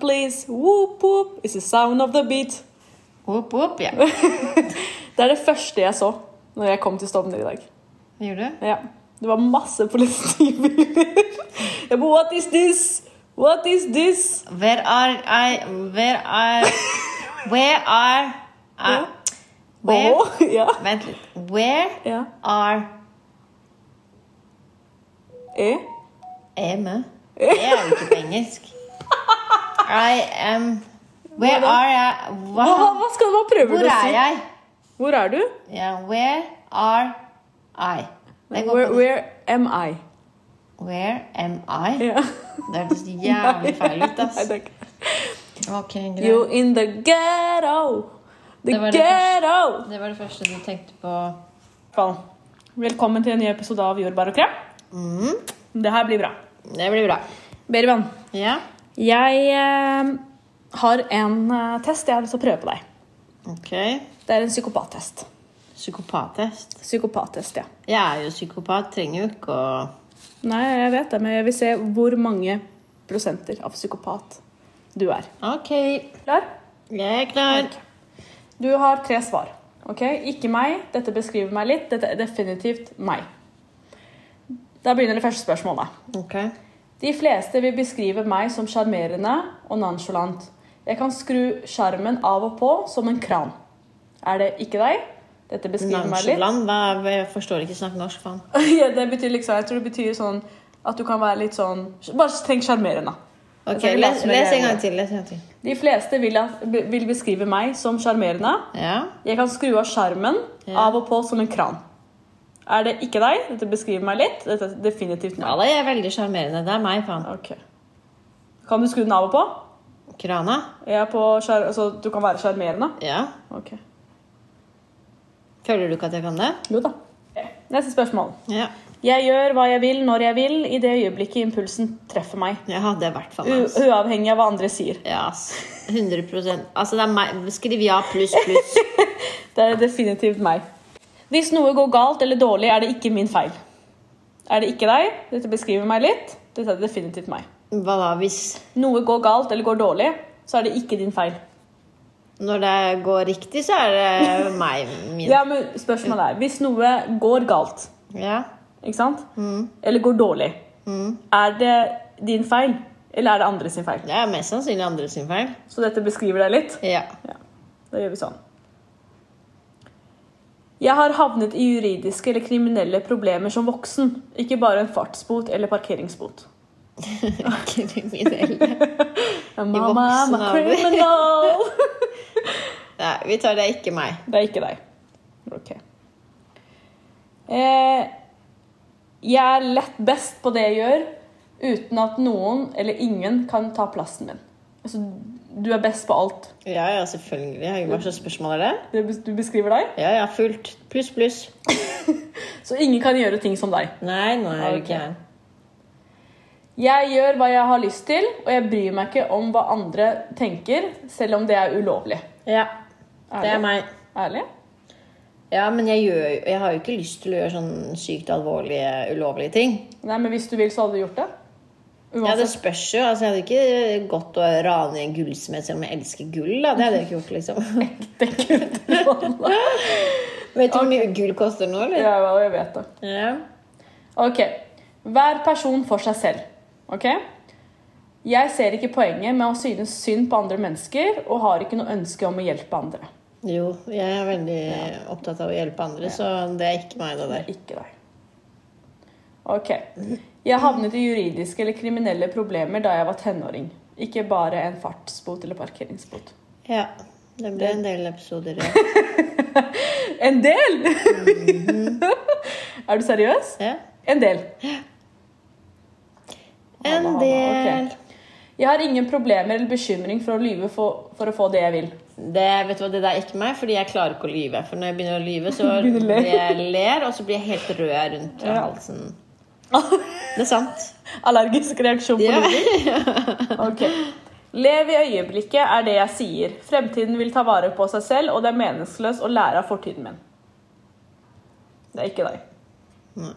please. Whoop, whoop. It's the sound of the beat. Opp, opp, ja. Det er det første jeg så når jeg kom til Stovner i dag. Det gjorde du. Ja. Det var masse politibiler. Jeg bare What is this? What is this? Where are I Where are Where are Ah. I Where Åh, ja. Vent litt. Where ja. are E. Eme? Det er jo ikke på engelsk. I am Where Hva da? are I Hva, hva, Hva? hva skal hva prøver Hvor du å er si? jeg? Hvor er du? Ja, where are I? Det går Where, på- where am I? Where am I? Ja. Det hørtes jævlig feil ut, ass. Nei, det er ikke- Ok, greit. You in the ghetto. The Det var det ghetto. Det var det første du tenkte på. Velkommen til en ny episode av Jordbær og krem. Mm, Det her blir bra. det blir bra. Berivan, Ja, jeg eh, har en eh, test jeg har lyst til å prøve på deg. ok. Det er en psykopattest. Psykopattest. Psykopattest, ja. Jeg er jo psykopat, trenger jo ikke å Nei, jeg vet det, men jeg vil se hvor mange prosenter av psykopat du er. Ok, Klar? jeg er klar. Du har tre svar. Ok? Ikke meg. Dette beskriver meg litt. Dette er definitivt meg. Da begynner det første spørsmålet. Ok. De fleste vil beskrive meg som sjarmerende og nonchalant. Jeg kan skru skjermen av og på som en kran. Er det ikke deg? Dette beskriver meg litt. Nonchalant? hva- Jeg forstår ikke snakk norsk, faen. ja, det betyr liksom, jeg tror det betyr sånn at du kan være litt sånn Bare tenk sjarmerende. Ok, Jeg les, leser meg les en gjerne. gang til. Les en gang til. De fleste vil, at, be- vil beskrive meg som sjarmerende. Ja. Jeg kan skru av skjermen Ja. av og på som en kran. Er det ikke deg? Dette beskriver meg litt. Dette er definitivt ja meg. da, jeg er veldig sjarmerende. Det er meg, faen. Ok. Kan du skru den av og på? Krana? Jeg er på skjer- altså, du kan være sjarmerende? Ja. Ok. Føler du ikke at jeg kan det? Jo da. Ok. Neste spørsmål. Ja. Jeg gjør hva jeg vil når jeg vil, i det øyeblikket impulsen treffer meg. Jeg hadde i hvert fall U meg. ass. uavhengig av hva andre sier. Ja, ass. 100 Altså, det er meg. Skriv ja pluss pluss. Det er definitivt meg. Hvis noe går galt eller dårlig, er det ikke min feil. Er det ikke deg? Dette beskriver meg litt. Dette er definitivt meg. Hva da hvis Noe går galt eller går dårlig, så er det ikke din feil. Når det går riktig, så er det meg. Min. Ja, men spørsmålet er, Hvis noe går galt, Ja. Mm. ikke sant? eller går dårlig, er det din feil? Eller er det andre sin feil? Det er mest sannsynlig andre sin feil. Så dette beskriver deg litt. Ja. Ja, Da gjør vi sånn. Jeg har havnet i juridiske eller kriminelle problemer som voksen. Ikke bare en fartsbot eller parkeringsbot. Kriminelle. Mama, I'm voksen a alder. criminal! Nei, vi tar det er ikke meg. Det er ikke deg. Ok. Eh, jeg er lett best på det jeg gjør, uten at noen eller ingen kan ta plassen min. Altså, du er best på alt. Ja, ja, selvfølgelig. Hva slags spørsmål er det? Det bes- Du beskriver deg. Ja, ja, fullt. Pluss, pluss. Så ingen kan gjøre ting som deg. Nei, nå er jeg Ok. ikke her. Jeg gjør hva jeg har lyst til, og jeg bryr meg ikke om hva andre tenker, selv om det er ulovlig. Ja, det Ærlig? er meg. Ærlig? Ja, men jeg, gjør, jo- jeg har jo ikke lyst til å gjøre sånn sykt alvorlige, ulovlige ting. Nei, men hvis du vil, så hadde du gjort det. Ja, det Uansett. spørs jo. Altså, jeg hadde ikke gått og rane en gullsmed selv om jeg elsker gull. Da. Det hadde jeg ikke gjort, liksom. Vet du hvor mye gull koster nå, eller? Ja, ja, jeg vet det. Ja. Ok. Hver person for seg selv. Ok? Jeg ser ikke poenget med å synes synd på andre mennesker og har ikke noe ønske om å hjelpe andre. Jo, jeg er veldig opptatt av å hjelpe andre, så det er ikke meg, det Det der. er ikke deg. Ok. Jeg havnet i juridiske eller kriminelle problemer da jeg var tenåring. Ikke bare en fartsbot eller parkeringsbot. Ja. Det ble en del episoder. ja. En del! Mhm. er du seriøs? Ja. En del. En Halla, halla, del. ok. Jeg har ingen problemer eller bekymring for å lyve for, for å få det jeg vil. Det, vet du hva, det der er ikke meg, fordi jeg klarer ikke å lyve. For når jeg begynner å lyve, så Begynner å le. blir jeg ler, og så blir jeg helt rød rundt halsen. Det er sant. Allergisk reaksjon på Ja. lyver? Ok. Lev i øyeblikket er det jeg sier. Fremtiden vil ta vare på seg selv, og det er meningsløst å lære av fortiden min. Det er ikke deg. Nei.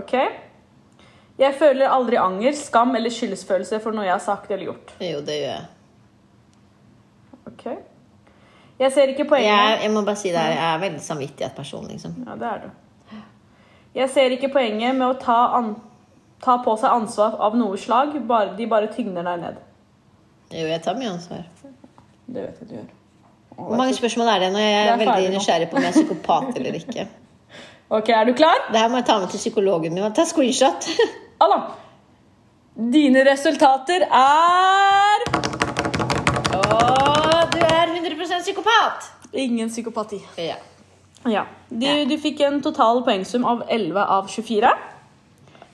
Ok. Jeg føler aldri anger, skam eller skyldfølelse for noe jeg har sagt eller gjort. Jo, det gjør jeg. Ok. Jeg ser ikke poenget Jeg, jeg må bare si det her, jeg er veldig samvittighetsperson, liksom. Ja, det er du. Jeg ser ikke poenget med å ta, an ta på seg ansvar av noe slag. Bare, de bare tyngder deg ned. Jo, jeg tar mye ansvar. Det vet jeg du gjør. Hvor mange spørsmål er det nå? Det Jeg er er, ferdig veldig nå. nysgjerrig på om jeg er psykopat eller ikke. Ok, er du klar? Det her må jeg ta med til psykologen min. Ta screenshot! Alla! Dine resultater er Å, du er 100 psykopat! Ingen psykopati. Ja. Ja. Du, du fikk en total poengsum av 11 av 24.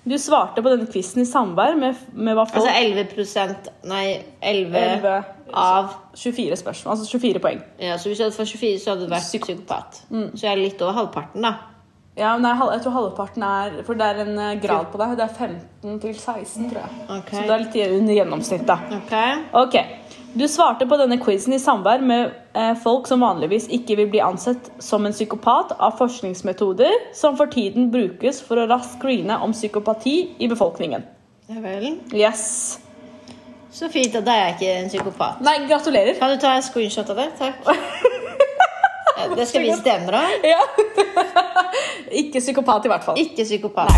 Du svarte på denne quizen i samvær med, med hva folk Altså 11 Nei, 11, 11. av 24 spørsmål, altså 24 poeng. ja, Så hvis jeg hadde fått 24, så hadde du vært psykopat. Så jeg er litt over halvparten, da. Ja, nei, hal- jeg tror halvparten er For det er en eh, grad på deg. Det er 15 til 16, tror jeg. Ok. Så du er litt under gjennomsnittet. Ok? Ok. Du svarte på denne quizen i samvær med eh, folk som vanligvis ikke vil bli ansett som en psykopat av forskningsmetoder som for tiden brukes for å raskt screene om psykopati i befolkningen. Ja vel. Yes. Så fint at da er jeg ikke en psykopat. Nei, gratulerer. Kan du ta en screenshot av det? Takk. Ja, Det skal vi stemme, da. Ja. ikke psykopat, i hvert fall. Ikke psykopat.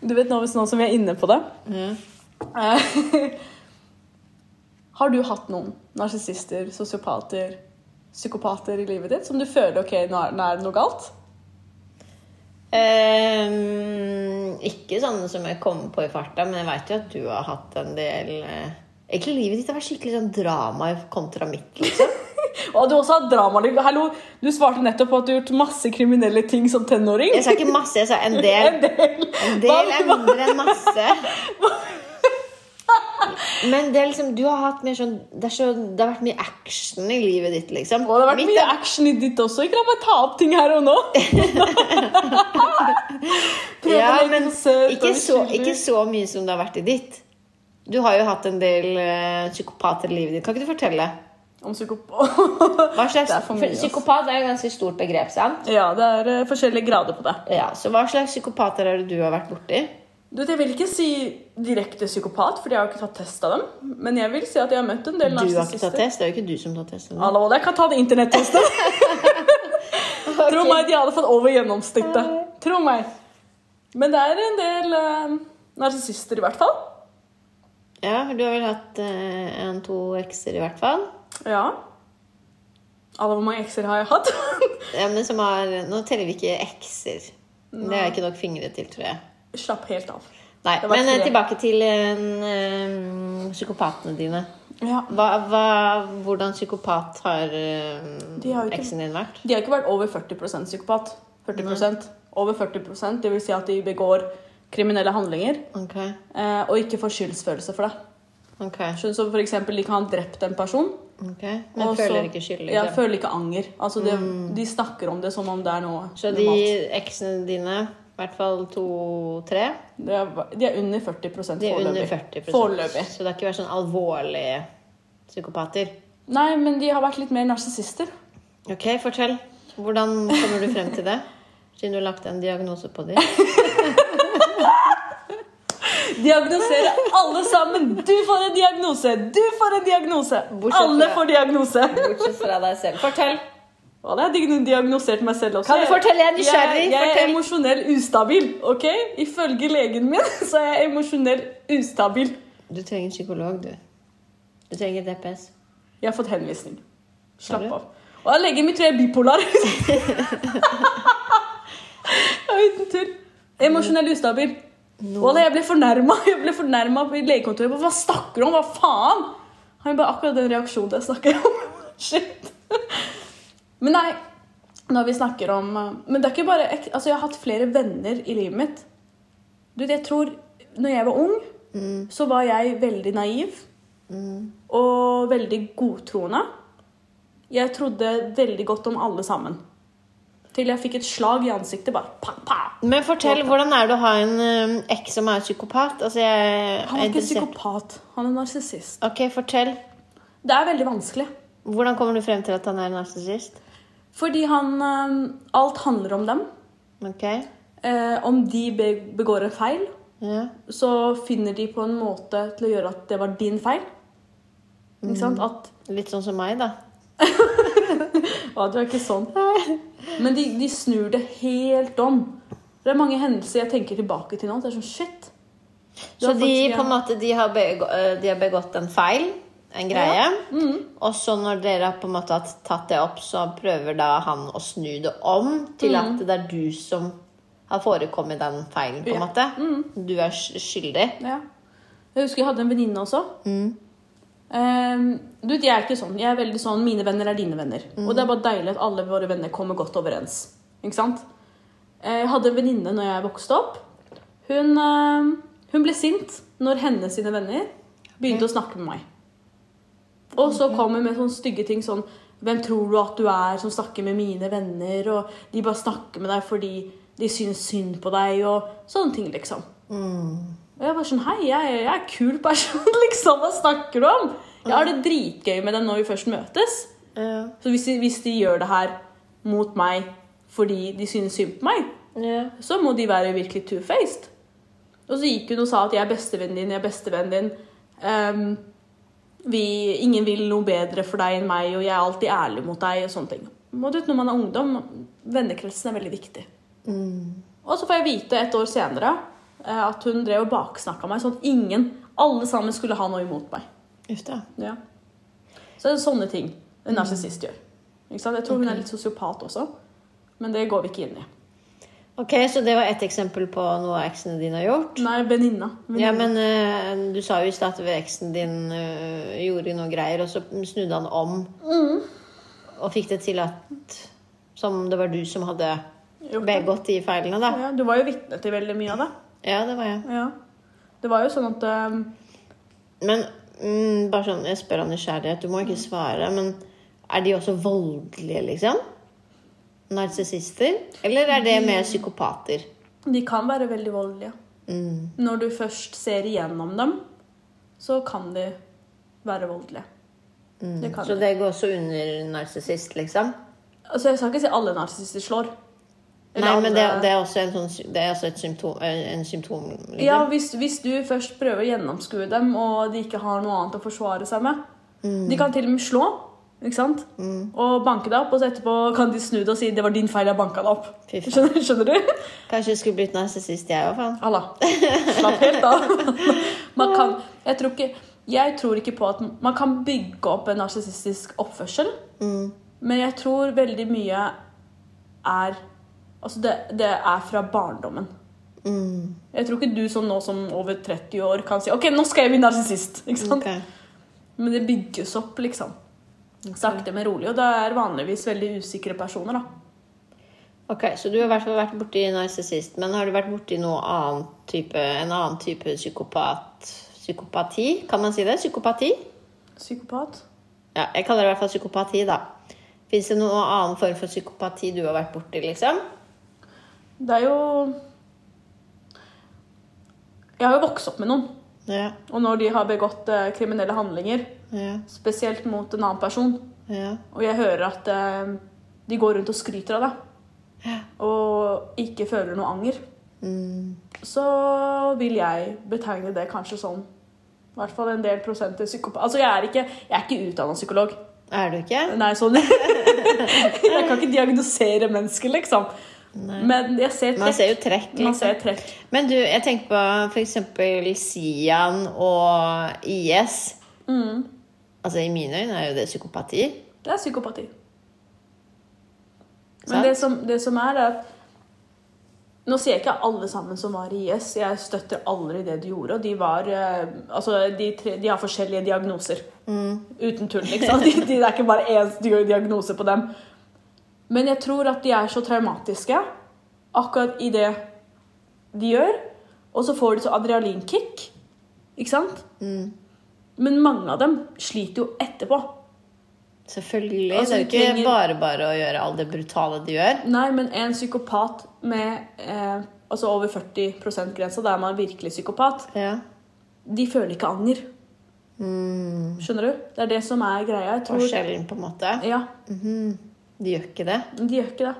Du vet nå, hvis nå som vi er inne på det Ja. Eh, Har du hatt noen narsissister, sosiopater, psykopater i livet ditt som du føler ok, nå er, nå er det noe galt? Ehm, ikke sånne som jeg kommer på i farta, men jeg veit jo at du har hatt en del eh, Egentlig livet ditt har vært skikkelig sånn drama kontra mitt. Liksom. Og du også har dramaliv. Hallo, du svarte nettopp på at du har gjort masse kriminelle ting som tenåring. Jeg sa ikke masse, jeg sa en del. En del. Hva- En del er mindre enn masse. Men det er liksom, du har hatt mer sånn Det, er så, det har vært mye action i livet ditt, liksom. Og det har vært Mitt mye action i ditt også. Ikke la meg ta opp ting her og nå. Prøve Ja, å leke men søt og ikke så, uskyldig. ikke så mye som det har vært i ditt. Du har jo hatt en del eh, psykopater i livet ditt. Kan ikke du fortelle? Om psykopat Hva slags, Det er for mye, ass. psykopat er jo et ganske stort begrep, sant? Ja, det er eh, forskjellige grader på det. Ja, så hva slags psykopater er det du har vært borti? Du vet, Jeg vil ikke si direkte psykopat, Fordi jeg har ikke tatt test av dem. Men jeg vil si at jeg har møtt en del Du har ikke tatt narsissister. test. Det er jo ikke du som tar test. eller noe. Hallo, jeg kan ta den internettesten. Tro meg, de hadde fått over gjennomsnittet. Tro meg. Men det er en del uh, narsissister, i hvert fall. Ja, for du har vel hatt eh, en, to ekser i hvert fall. Ja. Alle, hvor mange ekser har jeg hatt? Ja, men som har, nå teller vi ikke ekser. Det har jeg ikke nok fingre til, tror jeg. Slapp helt av. Nei, Det var Men eh, tre. tilbake til eh, eh, psykopatene dine. Ja. Hva, hva, hvordan psykopat har eh, De har jo ikke- eksen din vært? De har ikke vært over 40 psykopat. 40 Over 40 det vil si at de begår kriminelle handlinger Ok, eh, og ikke får skyldsfølelse for det. ok, Skjønner, Så for eksempel, de kan ha drept en person. ok. Men og føler så- ikke skyld. Ja, Liksom. føler ikke anger. Altså, det, De snakker om det som om det er noe Mm. Så de eksene dine, i hvert fall to-tre, Det er, de er under 40 de er under foreløpig. 40 Foreløpig. Så det har ikke vært sånn alvorlige psykopater. Nei, men de har vært litt mer narsissister. Ok, fortell. Hvordan kommer du frem til det? Siden du har lagt en diagnose på dem. Diagnoserer alle sammen! Du får en diagnose! Du får en diagnose! Bortsett fra- alle får diagnose! Bortsett fra deg selv. Fortell. Og det har jeg diagnosert meg selv også. Kan du fortelle? Jeg er nysgjerrig. Jeg, jeg er Fortell. emosjonell ustabil. ok? Ifølge legen min så er jeg emosjonell ustabil. Du trenger en psykolog, du. Du trenger DPS. Jeg har fått henvisning. Slapp Har du? av. Og jeg legger min tror jeg er bipolar. jeg er uten tull. Emosjonell ustabil. Og da jeg ble fornærma. Jeg ble fornærma i legekontoret. Hva snakker du om? Hva faen? Han bare akkurat den reaksjonen jeg snakker om. Shit. Men nei, når vi snakker om eh, Men det er ikke bare ek- Altså, jeg har hatt flere venner i livet mitt. Du vet, jeg tror Når jeg var ung, så var jeg veldig naiv Mm. og veldig godtroende. Jeg trodde veldig godt om alle sammen. Til jeg fikk et slag i ansiktet. bare pa, pa. Men fortell, hvordan er det å ha en ø, eks som er psykopat? Altså, jeg Han er er ikke interessert. psykopat, han er narsissist. Ok, fortell. Det er veldig vanskelig. Hvordan kommer du frem til at han er en narsissist? Fordi han eh, Alt handler om dem. Ok. Eh, om de be- begår en feil, Ja. så finner de på en måte til å gjøre at det var din feil. Ikke sant? At Litt sånn som meg, da. Å, du er ikke sånn. Men de, de snur det helt om. Det er mange hendelser jeg tenker tilbake til nå. at Det er sånn shit. Det Så var de, faktisk- på en måte, de, har begå, eh, de har begått en feil, en greie. Mm. Og så når dere har på en måte har tatt det opp, så prøver da han å snu det om til at det er du som har forekommet den feilen, på en Ja. måte. Du er sk- skyldig. Mm. Ja. Jeg husker jeg hadde en venninne også. Mm. Eh, du vet, Jeg er ikke sånn. Jeg er veldig sånn mine venner er dine venner. Og det er bare deilig at alle våre venner kommer godt overens. Ikke sant? Eh, Jeg hadde en venninne når jeg vokste opp. Hun, eh, hun ble sint når hennes sine venner begynte å snakke med meg. Og så kom hun med sånne stygge ting sånn Hvem tror du at du er som snakker med mine venner? Og de bare snakker med deg fordi de syns synd på deg, og sånne ting, liksom. Mm. Og jeg var sånn Hei, jeg, jeg er kul person, liksom. Hva snakker du om? Jeg har det dritgøy med dem når vi først møtes. Ja. Så hvis de, hvis de gjør det her mot meg fordi de synes synd på meg, Ja. så må de være virkelig two-faced. Og så gikk hun og sa at jeg er bestevennen din, jeg er bestevennen din. Ehm, vi, ingen vil noe bedre for deg enn meg, og jeg er alltid ærlig mot deg. og sånne ting. Og du vet, når man er ungdom, vennekretsen er veldig viktig. Mm. Og så får jeg vite et år senere eh, at hun drev og baksnakka meg sånn at ingen, alle sammen, skulle ha noe imot meg. Uff da. Ja. Mm. Så det er sånne ting en narsissist gjør. Ikke sant? Jeg tror hun er litt sosiopat også, men det går vi ikke inn i. Ok, så det var ett eksempel på noe eksene dine har gjort. Nei, venninna. Venninna. Ja, men eh, du sa jo i stad at eksen din eh, gjorde noe greier, og så snudde han om. Mm. Og fikk det til at Som det var du som hadde Gjort det. begått de feilene, da. Ja, du var jo vitne til veldig mye av det. Ja, det var jeg. Ja. Det var jo sånn at ehm, Men mm, bare sånn, jeg spør av nysgjerrighet, du må ikke svare, men er de også voldelige, liksom? Narsissister? Eller er det mer psykopater? Mm. de kan være veldig voldelige. Når du først ser igjennom dem, så kan de være voldelige. Det kan Så de. det går også under narsissist, liksom? Altså, jeg skal ikke si alle narsissister slår. Eller Nei, men det, alle- det er også, en sånn, det er også et symptom, en symptom liksom. Ja, hvis, hvis du først prøver å gjennomskue dem, og de ikke har noe annet å forsvare seg med Mm. De kan til og med slå ikke sant? og banke deg opp, og så etterpå kan de snu deg og si 'det var din feil, jeg banka deg opp'. Fy faen. Skjønner, skjønner du? Kanskje jeg skulle blitt narsissist, jeg òg, faen. Halla. Slapp helt av. Man kan, jeg, tror ikke, jeg tror ikke på at man kan bygge opp en narsissistisk oppførsel. Mm. Men jeg tror veldig mye er Altså, det, det er fra barndommen. Mm, Jeg tror ikke du som nå som over 30 år kan si OK, nå skal jeg bli narsissist. Ikke sant? Ok. Men det bygges opp, liksom. Sakte, men rolig. Og det er vanligvis veldig usikre personer, da. ok, så du har i hvert fall vært borti narsissist, men har du vært borti noe annen type, en annen type psykopat? Psykopati? Kan man si det? Psykopati? Psykopat. Ja, jeg kaller det i hvert fall psykopati, da. Fins det noen annen form for psykopati du har vært borti, liksom? Det er jo Jeg har jo vokst opp med noen. Ja, Og når de har begått eh, kriminelle handlinger, ja, spesielt mot en annen person, ja. og jeg hører at eh, de går rundt og skryter av det, og ikke føler noe anger, Mm. så vil jeg betegne det kanskje som i hvert fall en del prosent til psykopat. Altså, jeg er ikke, jeg er ikke utdanna psykolog. Er du ikke? Nei, sånn Jeg kan ikke diagnosere mennesker, liksom. Men jeg ser Man trekk. ser jo trekk. liksom. Man ser trekk. Men du, jeg tenker på f.eks. Sian og IS. Mm. Altså, I mine øyne er jo det psykopati. Det er psykopati. Men Sant? det som, det som er, er at Nå sier jeg ikke alle sammen som var i IS. Jeg støtter aldri det de gjorde. Og de var eh, Altså, de, tre, de har forskjellige diagnoser. Uten tull, liksom. De, de, det er ikke bare én sti- diagnose på dem. Men jeg tror at de er så traumatiske akkurat i det de gjør. Og så får de så adrenalinkick. Ikke sant? Men mange av dem sliter jo etterpå. Selvfølgelig. Altså, det er jo du ikke trenger- bare bare å gjøre alt det brutale de gjør. Nei, men en psykopat med eh, altså over 40 %-grensa, da er man virkelig psykopat, Ja. de føler ikke anger. Mm. Skjønner du? Det er det som er greia. Jeg tror, Forskjellen, på en måte. ja. De gjør ikke det. Men de gjør ikke det.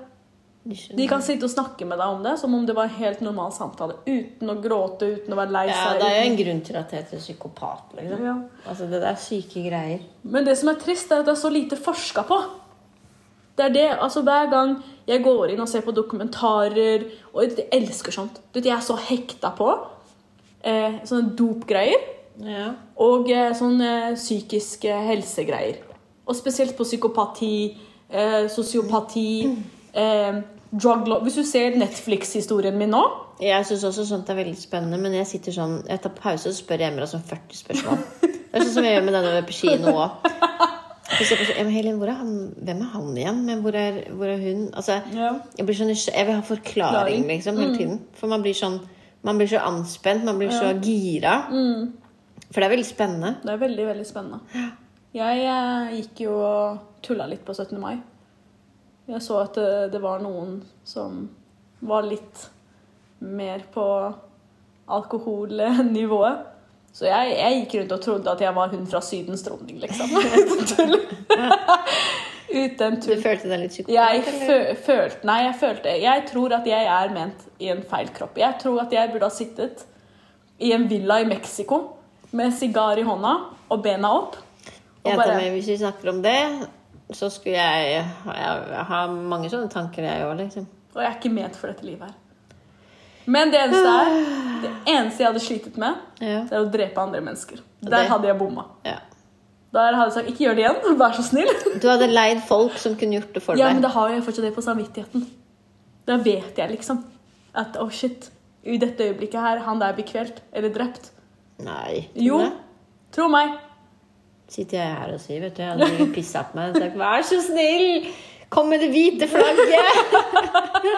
De, skjønner. De kan sitte og snakke med deg om det som om det var en helt normal samtale. Uten å gråte, uten å være lei ja, seg. det er jo uten- en grunn til at jeg heter psykopat, liksom. Ja. Altså, det der er syke greier. Men det som er trist, er at det er så lite forska på. Det er det, altså Hver gang jeg går inn og ser på dokumentarer Og jeg elsker sånt. Du vet, Jeg er så hekta på eh, sånne dopgreier Ja. og eh, sånne eh, psykiske helsegreier. Og spesielt på psykopati, eh, sosiopati eh, drug law. Hvis du ser Netflix-historien min nå Jeg syns også sånt er veldig spennende, men jeg sitter sånn Jeg tar pause og så spør jeg Emra sånn 40 spørsmål. Det er sånn som jeg gjør med denne med på kino òg. Helene, hvor er han, hvem er han igjen? Men hvor er, hvor er hun? Altså, Ja. Mm. jeg, blir så nysg- jeg vil ha forklaring, Klaring. liksom, hele tiden. For man blir sånn Man blir så anspent, man blir så gira. For det er veldig spennende. Det er veldig, veldig spennende. Jeg eh, gikk jo og tulla litt på 17. mai. Jeg så at eh, det var noen som var litt mer på alkoholnivået. Så jeg, jeg gikk rundt og trodde at jeg var hun fra Sydens dronning, liksom. Tull. Uten Du tull. følte deg litt psykopat? Mm. Jeg eller? fø følte Nei, jeg følte Jeg tror at jeg er ment i en feil kropp. Jeg tror at jeg burde ha sittet i en villa i Mexico med sigar i hånda og bena opp. Og Jeg bare tar med, hvis vi snakker om det, så skulle jeg Jeg har mange sånne tanker, jeg òg, liksom. Og jeg er ikke ment for dette livet her. Men det eneste er Det eneste jeg hadde slitet med, Ja. det er å drepe andre mennesker. Det- Der hadde jeg bomma. ja. Der hadde jeg sagt ikke gjør det igjen, vær så snill. Du hadde leid folk som kunne gjort det for Ja, men deg. da har jeg fortsatt det på samvittigheten. Da vet jeg liksom at oh shit, i dette øyeblikket her, han der blir kvelt eller drept. Nei. Jo, Tone, tro meg. Sitter jeg her og sier, vet du. Jeg hadde pissa på meg og sagt 'vær så snill', kom med det hvite flagget!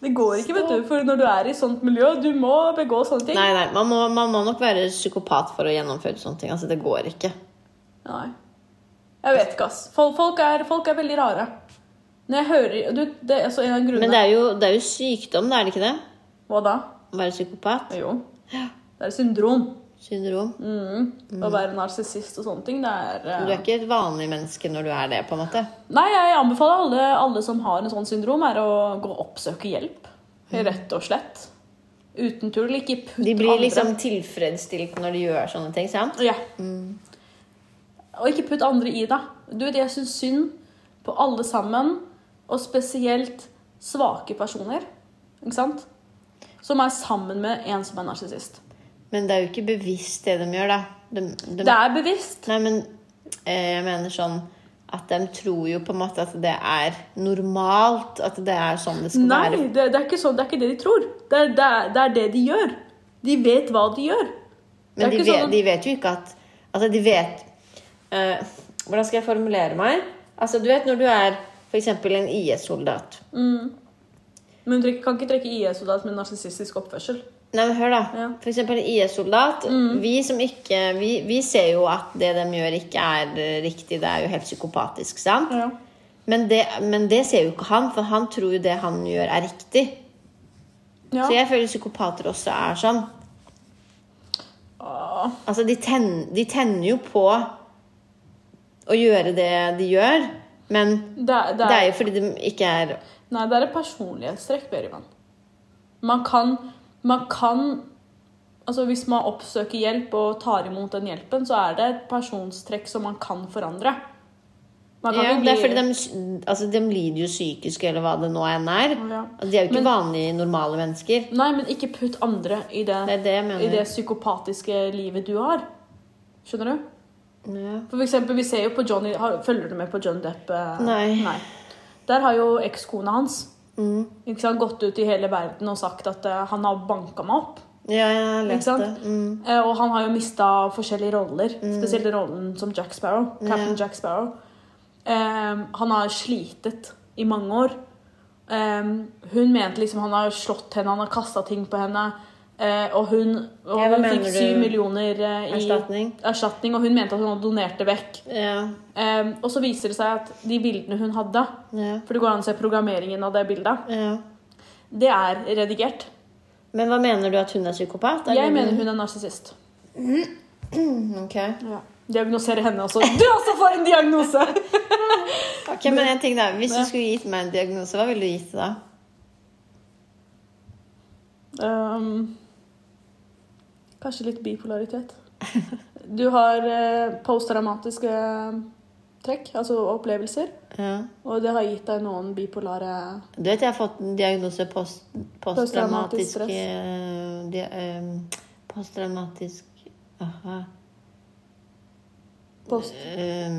Det går ikke, vet du, for når du er i sånt miljø, du må begå sånne ting. Nei, nei, man må, man må nok være psykopat for å gjennomføre sånne ting. Altså, det går ikke. Nei. Jeg vet ikke, ass. Folk, folk, er, folk er veldig rare. Når jeg hører du, Det er altså en av Men grunnene det er jo, det er jo sykdom, da, er det ikke det? Hva da? Å være psykopat. Jo. Det er et syndrom. Syndrom. Mm. Å være narsissist og sånne ting, det er eh, Du er ikke et vanlig menneske når du er det, på en måte. Nei, jeg anbefaler alle, alle som har en sånn syndrom, er å gå og oppsøke hjelp. Rett og slett. Uten tull. Ikke putt Mm. De blir andre liksom tilfredsstilt når de gjør sånne ting, sant? Ja. Mm. Og ikke putt andre i deg. Du vet, jeg syns synd på alle sammen, og spesielt svake personer, ikke sant? Som er sammen med en som er narsissist. Men det er jo ikke bevisst det de gjør, da. De, de, Det er bevisst. Nei, men eh, jeg mener sånn at de tror jo på en måte at det er normalt. At det er sånn det skal være. Nei, det, det, er ikke sånn, det er ikke det de tror. Det er det, er- det, er det de gjør. De vet hva de gjør. Det Men er de ikke vet, sånn at- de vet jo ikke at Altså, de vet eh, Hvordan skal jeg formulere meg? Altså, du vet når du er f.eks. en IS-soldat. Men du kan ikke trekke IS-soldat med narsissistisk oppførsel. Nei, men hør da. Ja. Mm. For eksempel en IS-soldat. Vi som ikke vi, vi ser jo at det de gjør, ikke er eh, riktig. Det er jo helt psykopatisk, sant? Ja. Men, det, men det ser jo ikke han, for han tror jo det han gjør, er riktig. Ja. Så jeg føler psykopater også er sånn. Åh. Altså, de, ten, de tenner jo på å gjøre det de gjør, men Det, er- det er jo fordi de ikke er Nei, det er et personlighetstrekk, Berivan. Man kan, man kan Altså Hvis man oppsøker hjelp og tar imot den hjelpen, så er det et personstrekk som man kan forandre. Man kan ja, ikke Det er bli- fordi de, altså, de lider jo psykisk, eller hva det nå enn er. Ja. Altså, de er jo ikke Men- vanlige, normale mennesker. Nei, men ikke putt andre i det, Det er det jeg mener. i det psykopatiske livet du har. Skjønner du? Ja. For eksempel, vi ser jo på Johnny har, Følger du med på John Depp? eh? Nei. Der har jo ekskona hans Mm. ikke sant, gått ut i hele verden og sagt at eh, han har banka meg opp. Ja, jeg har Ikke lest det. Mm. sant? Eh, Og han har jo mista forskjellige roller, spesielt rollen som Jack Sparrow. Captain Jack Sparrow. Eh, han har slitet i mange år. Eh, hun mente liksom han har slått henne, han har kasta ting på henne. Eh, og hun, og Ja, hva hun mener fikk du? syv millioner eh, i Erstatning? erstatning, og hun mente at hun hadde donert det vekk. Ja. Eh, og så viser det seg at de bildene hun hadde, ja. for det går an å se programmeringen av det bildet, ja. det er redigert. Men hva mener du at hun er psykopat? Jeg mener hun er narsissist. Ok. Ja. Diagnosere henne også. Du også får en diagnose! Ok, men en ting da. Hvis du skulle gitt meg en diagnose, hva ville du gitt da? Ehm, kanskje litt bipolaritet. Du har eh, posttraumatiske trekk, altså opplevelser. Ja. Og det har gitt deg noen bipolare Du vet jeg har fått en diagnose post, Posttraumatisk posttraumatisk stress. eh, dia- eh, Posttraumatisk aha, post... eh,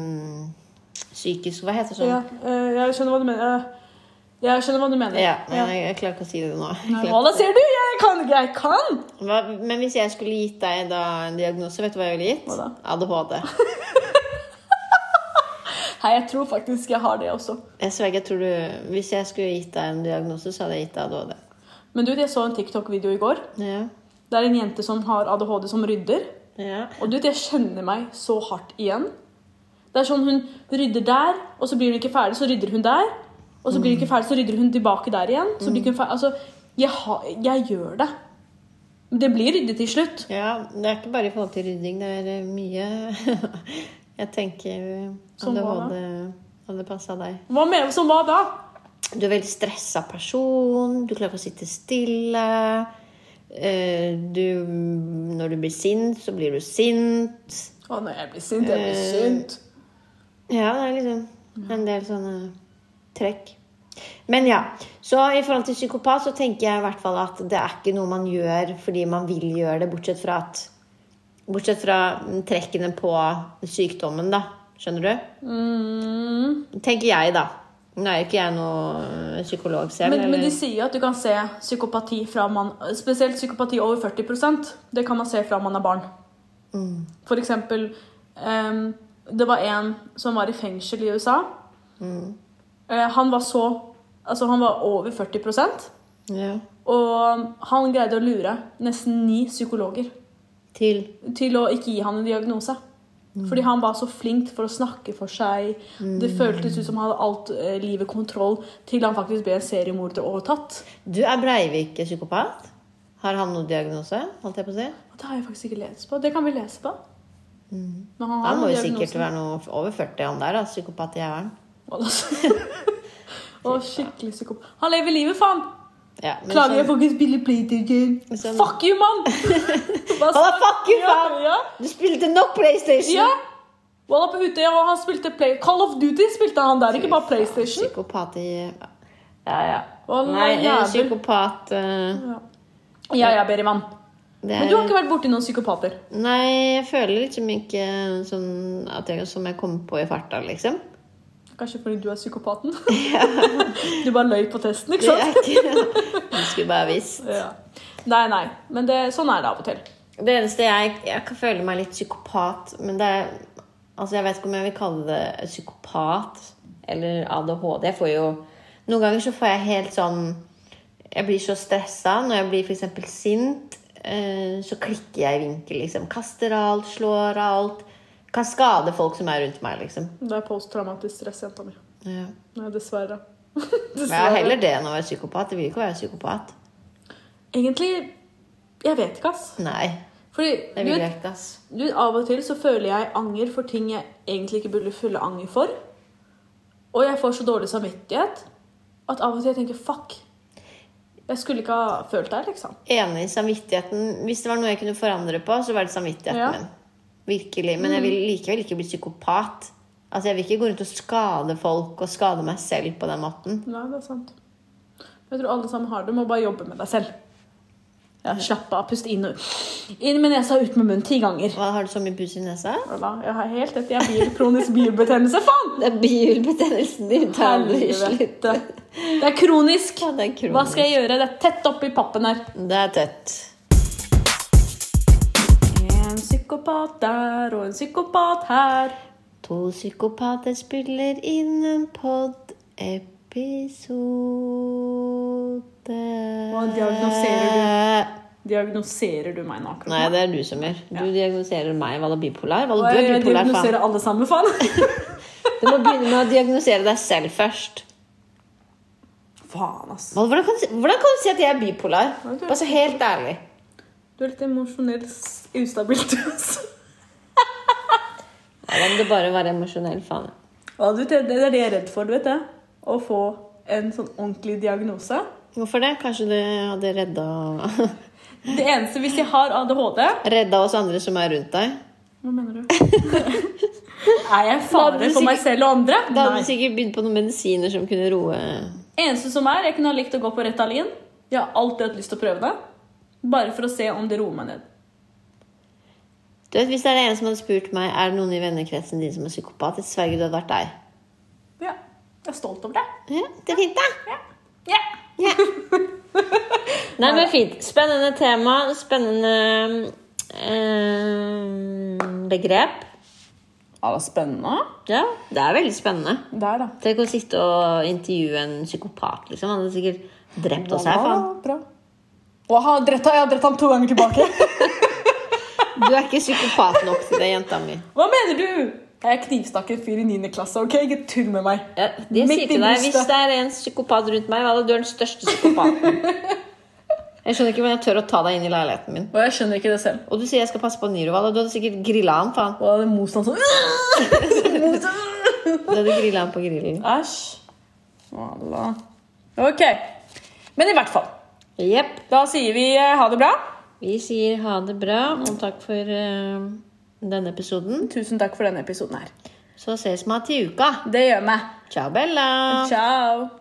Psykisk Hva heter Ja, sånn? eh, jeg skjønner hva du mener. Eh, Jeg skjønner hva du mener. Ja, men Ja. jeg, jeg klarer ikke å si det nå. Jeg Nei, klarer Hva ikke å si- sier du? Jeg kan ikke! Jeg kan! Hva, men hvis jeg skulle gitt deg da en diagnose, vet du hva jeg ville gitt? Hva da? ADHD. Hei, jeg tror faktisk jeg har det også. Jeg sverger, jeg tror du Hvis jeg skulle gitt deg en diagnose, så hadde jeg gitt deg ADHD. Men du, vet, jeg så en TikTok-video i går. Ja. Det er en jente som har ADHD som rydder. ja. Og du vet, jeg kjenner meg så hardt igjen. Det er sånn hun rydder der, og så blir hun ikke ferdig, så rydder hun der. Og så blir hun ikke ferdig, så rydder hun tilbake der igjen. Så blir hun ferdig. Altså, jeg, har, jeg gjør det. Men Det blir ryddig til slutt. ja. Det er ikke bare i forhold til rydding, det er eh, mye Jeg tenker Som hva ADHD hadde passa deg. Hva med som hva da? Du er veldig stressa person, du klarer ikke å sitte stille. Eh, Du Når du blir sint, så blir du sint. Å nei, jeg blir sint. Jeg blir sint. Ja, det er liksom en del sånne trekk. Men ja. Så i forhold til psykopat så tenker jeg i hvert fall at det er ikke noe man gjør fordi man vil gjøre det, bortsett fra at Bortsett fra mm, trekkene på sykdommen, da. Skjønner du? Mm. Tenker jeg, da. Nå er jo ikke jeg noe øh, psykolog selv. Men, men de eller- sier jo at du kan se psykopati fra man Spesielt psykopati over 40 Det kan man se fra man er barn. Mm, For eksempel ehm, Det var en som var i fengsel i USA. Mm. Eh, han var så Altså, han var over 40 ja. og han greide å lure nesten ni psykologer Til til å ikke gi han en diagnose. Mm. Fordi han var så flink for å snakke for seg. Det føltes ut som han hadde alt eh, livet kontroll, til han faktisk ble en seriemorder og tatt. Du er Breivik psykopat? Har han noen diagnose? Holdt jeg på å si? Og det har jeg faktisk ikke lest på. Det kan vi lese på. Men han har Mm. Han må jo diagnosen. sikkert være noe over 40, han der, da. Psykopat i jævelen. Å, Å, skikkelig psykopat. Han lever livet, faen! Ja, men Klager jeg sånn- får ikke spille PlayStation. Sånn- Fuck you, mann! Hva Halla, sa- fuck you, faen! Ja, Du spilte nok PlayStation! ja. ja. Walla på Utøya, og han spilte play Call of Duty spilte han der, ikke bare PlayStation. Psykopat i Ja, ja. Wallah, Nei, eh, jævel. psykopat eh, Ja, ja, ja Berivan. det Men du har er, ikke vært borti noen psykopater? Nei, jeg føler liksom ikke sånn at jeg, som jeg kommer på i farta, liksom. Kanskje fordi du er psykopaten? du bare løy på testen, ikke Det sant? er ikke Du skulle bare visst. Ja. Nei, nei. Men det, sånn er det av og til. Det eneste jeg Jeg kan føle meg litt psykopat, men det er Altså, jeg vet ikke om jeg vil kalle det psykopat eller ADHD. Jeg får jo Noen ganger så får jeg helt sånn Jeg blir så stressa når jeg blir f.eks. sint. eh, Så klikker jeg i vinkel, liksom. Kaster alt, slår alt. Kan skade folk som er rundt meg, liksom. Det er posttraumatisk stress, jenta mi. Ja. Nei, dessverre. Men jeg har heller det enn å være psykopat. Jeg vil ikke være psykopat. Egentlig Jeg vet ikke, ass. Nei. Fordi Det du, vil jeg ikke, ass. du, av og til så føler jeg anger for ting jeg egentlig ikke burde føle anger for. Og jeg får så dårlig samvittighet at av og til jeg tenker fuck. Jeg skulle ikke ha følt det her, liksom. enig i samvittigheten. Hvis det var noe jeg kunne forandre på, så var det samvittigheten Ja. min. Virkelig. Men jeg vil likevel ikke bli psykopat. Altså, Jeg vil ikke gå rundt og skade folk og skade meg selv på den måten. Nei, det er sant. Jeg tror alle sammen har det. Må bare jobbe med deg selv. Ja, Slapp av. Pust inn og ut. Inn med nesa, ut med munnen. Ti ganger. Hva Har du så mye pus i nesa? Voilà, Jeg har helt rett. Jeg blir kronisk bilbetennelse, faen! Det er bihulebetennelsen din. Det er aldri slutt. Helvete. Det er kronisk. Ja, det er kronisk. Hva skal jeg gjøre? Det er tett oppi pappen her. Det er tett. En psykopat der og en psykopat her. To psykopater spiller inn en pod-episode. Hva diagnoserer Diagnoserer du meg nå? akkurat? Nei, det er du som gjør. Du diagnoserer meg. Var det bipolar? Var Og det du er jeg bipolar, faen? diagnoserer alle sammen, faen. Du må begynne med å diagnosere deg selv først. faen, ass. Hva- Hvordan kan, du si- hvordan kan du si at jeg er bipolar? Ok. Bare så helt ærlig. Du er litt emosjonelt s- ustabil, du, ass. Nei, men det bare var emosjonell faen. Ja, du, det det er det jeg er redd for, du vet det. Å få en sånn ordentlig diagnose. Hvorfor det? Kanskje det hadde redda Det eneste hvis jeg har ADHD Redda oss andre som er rundt deg? Hva mener du? er jeg en fare Da hadde du for meg sikkert- selv og andre? Da hadde Nei. du sikkert begynt på noen medisiner som kunne roe Eneste som er, jeg kunne ha likt å gå på Retalin. Jeg har alltid hatt lyst til å prøve det. Bare for å se om det roer meg ned. Du vet, Hvis det er en som hadde spurt meg Er det noen i vennekretsen din som er psykopat, jeg sverger det hadde vært deg. Ja, jeg er stolt over det. Ja, det er fint, da. Ja. Ja. Ja. Nei, men fint. Spennende tema, spennende eh, begrep. Ja, det er spennende. Ja, det er veldig spennende. Der, da. Tenk å sitte og intervjue en psykopat, liksom. Han hadde sikkert drept oss her, faen. Bra. Og ha dretta, jeg har dretta han to ganger tilbake. Du er ikke psykopat nok til det, jenta mi. Hva mener du? Jeg knivstakk en fyr i 9. klasse, OK? Ikke tull med meg. Ja, det Midt sier til i deg, brystet. Hvis det er en psykopat rundt meg, vel, du er den største psykopaten. Jeg skjønner ikke hvordan jeg tør å ta deg inn i leiligheten min. Og jeg skjønner ikke det selv. Og du sier jeg skal passe på Niro, vel, og du hadde sikkert grilla han, faen. Og da hadde Mos han sånn Mos- Du hadde grilla han på grillen. Æsj. Voilà. OK. Men i hvert fall. Jepp. Da sier vi eh, ha det bra. Vi sier ha det bra, og takk for eh, denne episoden. Tusen takk for denne episoden her. Så ses vi til uka. Det gjør meg. Ciao, Bella. Ciao.